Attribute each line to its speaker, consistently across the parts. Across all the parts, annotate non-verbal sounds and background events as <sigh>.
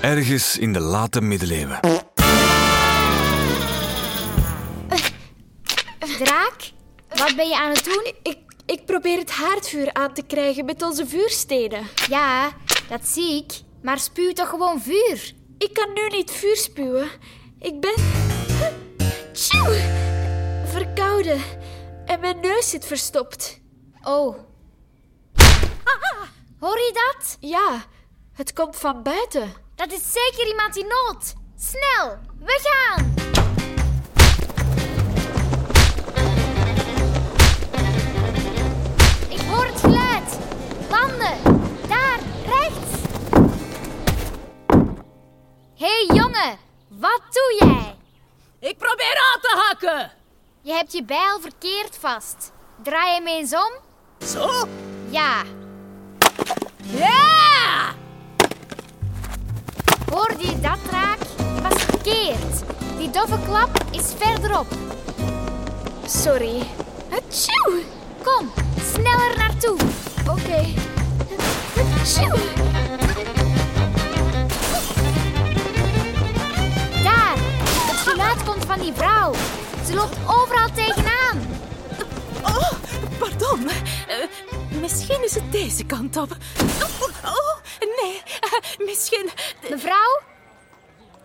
Speaker 1: ergens in de late middeleeuwen.
Speaker 2: Draak, wat ben je aan het doen?
Speaker 3: Ik, ik probeer het haardvuur aan te krijgen met onze vuurstenen.
Speaker 2: Ja, dat zie ik. Maar spuw toch gewoon vuur?
Speaker 3: Ik kan nu niet vuur spuwen. Ik ben. Tjoe! Verkouden. En mijn neus zit verstopt.
Speaker 2: Oh. Hoor je dat?
Speaker 3: Ja, het komt van buiten.
Speaker 2: Dat is zeker iemand in nood. Snel, weggaan! Ik hoor het geluid. Landen, daar, rechts. Hé hey, jongen, wat doe jij?
Speaker 4: Ik probeer aan te hakken.
Speaker 2: Je hebt je bijl verkeerd vast. Draai hem eens om.
Speaker 4: Zo?
Speaker 2: Ja,
Speaker 4: Ja!
Speaker 2: hoorde je dat raak? Je was verkeerd. Die doffe klap is verderop.
Speaker 3: Sorry. Tjoe!
Speaker 2: Kom, sneller naartoe.
Speaker 3: Oké. Tjoe!
Speaker 2: Daar, het geluid komt van die vrouw. Ze loopt overal tegenaan.
Speaker 4: Oh, pardon. Eh, misschien is het deze kant op. Oh, oh, nee. Eh, misschien...
Speaker 2: Mevrouw,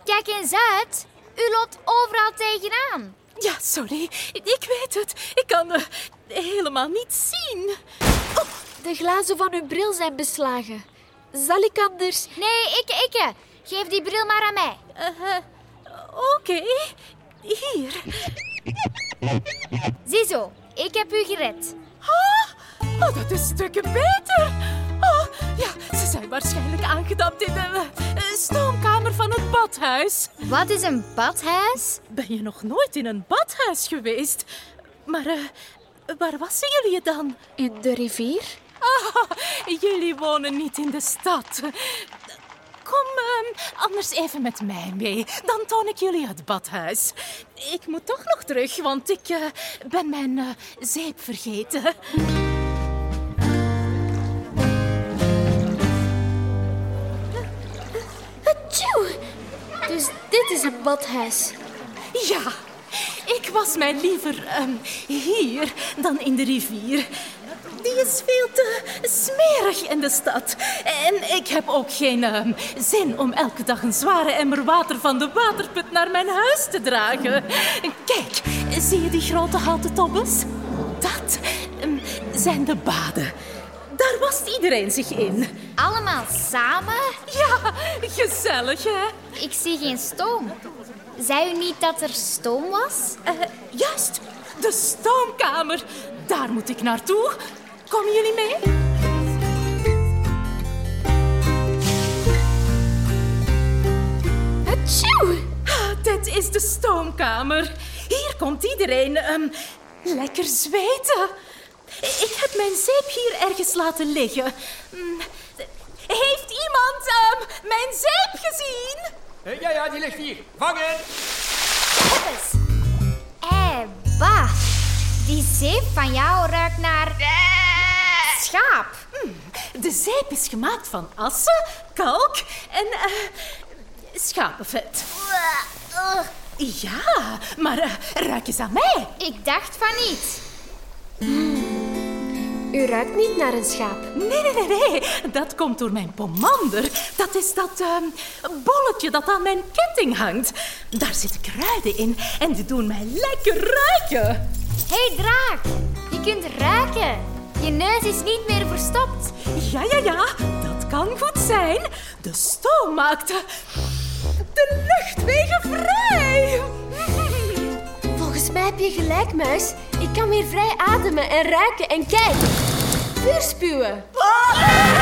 Speaker 2: kijk eens uit. U loopt overal tegenaan.
Speaker 4: Ja, sorry. Ik weet het. Ik kan eh, helemaal niet zien.
Speaker 3: De glazen van uw bril zijn beslagen. Zal ik anders.
Speaker 2: Nee, ikke, ikke. Geef die bril maar aan mij.
Speaker 4: Oké. Hier.
Speaker 2: Ziezo, ik heb u gered.
Speaker 4: Oh, dat is stukken beter. Oh, ja, ze zijn waarschijnlijk aangedampt in de eh, eh, stoomkamer van het badhuis.
Speaker 2: Wat is een badhuis?
Speaker 4: Ben je nog nooit in een badhuis geweest? Maar eh, waar wassen jullie dan?
Speaker 3: In de rivier?
Speaker 4: Ah, jullie wonen niet in de stad. Kom eh, anders even met mij mee. Dan toon ik jullie het badhuis. Ik moet toch nog terug, want ik eh, ben mijn eh, zeep vergeten.
Speaker 3: Tjoe! Dus dit is een badhuis.
Speaker 4: Ja, ik was mij liever ehm, hier dan in de rivier. Die is veel te smerig in de stad. En ik heb ook geen ehm, zin om elke dag een zware emmer water van de waterput naar mijn huis te dragen. Kijk, zie je die grote houten tobbes? Dat ehm, zijn de baden. Daar wast iedereen zich in.
Speaker 2: Allemaal samen?
Speaker 4: Ja, gezellig hè?
Speaker 2: Ik zie geen stoom. Zei u niet dat er stoom was?
Speaker 4: Eh, juist, de stoomkamer. Daar moet ik naartoe. Komen jullie mee?
Speaker 3: Tjoe!
Speaker 4: Ah, dit is de stoomkamer. Hier komt iedereen ehm, lekker zweten. Ik heb mijn zeep hier ergens laten liggen. Hm, Heeft iemand ehm, mijn zeep gezien?
Speaker 5: Eh, Ja, ja, die ligt hier. Vangen!
Speaker 2: Eh, bah. Die zeep van jou ruikt naar... Schaap.
Speaker 4: De zeep is gemaakt van assen, kalk en eh, schapenvet. Ja, maar eh, ruik eens aan mij.
Speaker 2: Ik dacht van niet.
Speaker 3: U ruikt niet naar een schaap.
Speaker 4: Nee, nee, nee, nee. Dat komt door mijn pomander. Dat is dat ehm, bolletje dat aan mijn ketting hangt. Daar zitten kruiden in en die doen mij lekker ruiken.
Speaker 2: Hé, hey, draak. Je kunt ruiken. Je neus is niet meer verstopt.
Speaker 4: Ja, ja, ja. Dat kan goed zijn. De stoom maakte de luchtwegen vrij. <laughs>
Speaker 3: Volgens mij heb je gelijk, muis. Ik kan weer vrij ademen en ruiken en kijk. Vuur spuwen.
Speaker 4: Ah!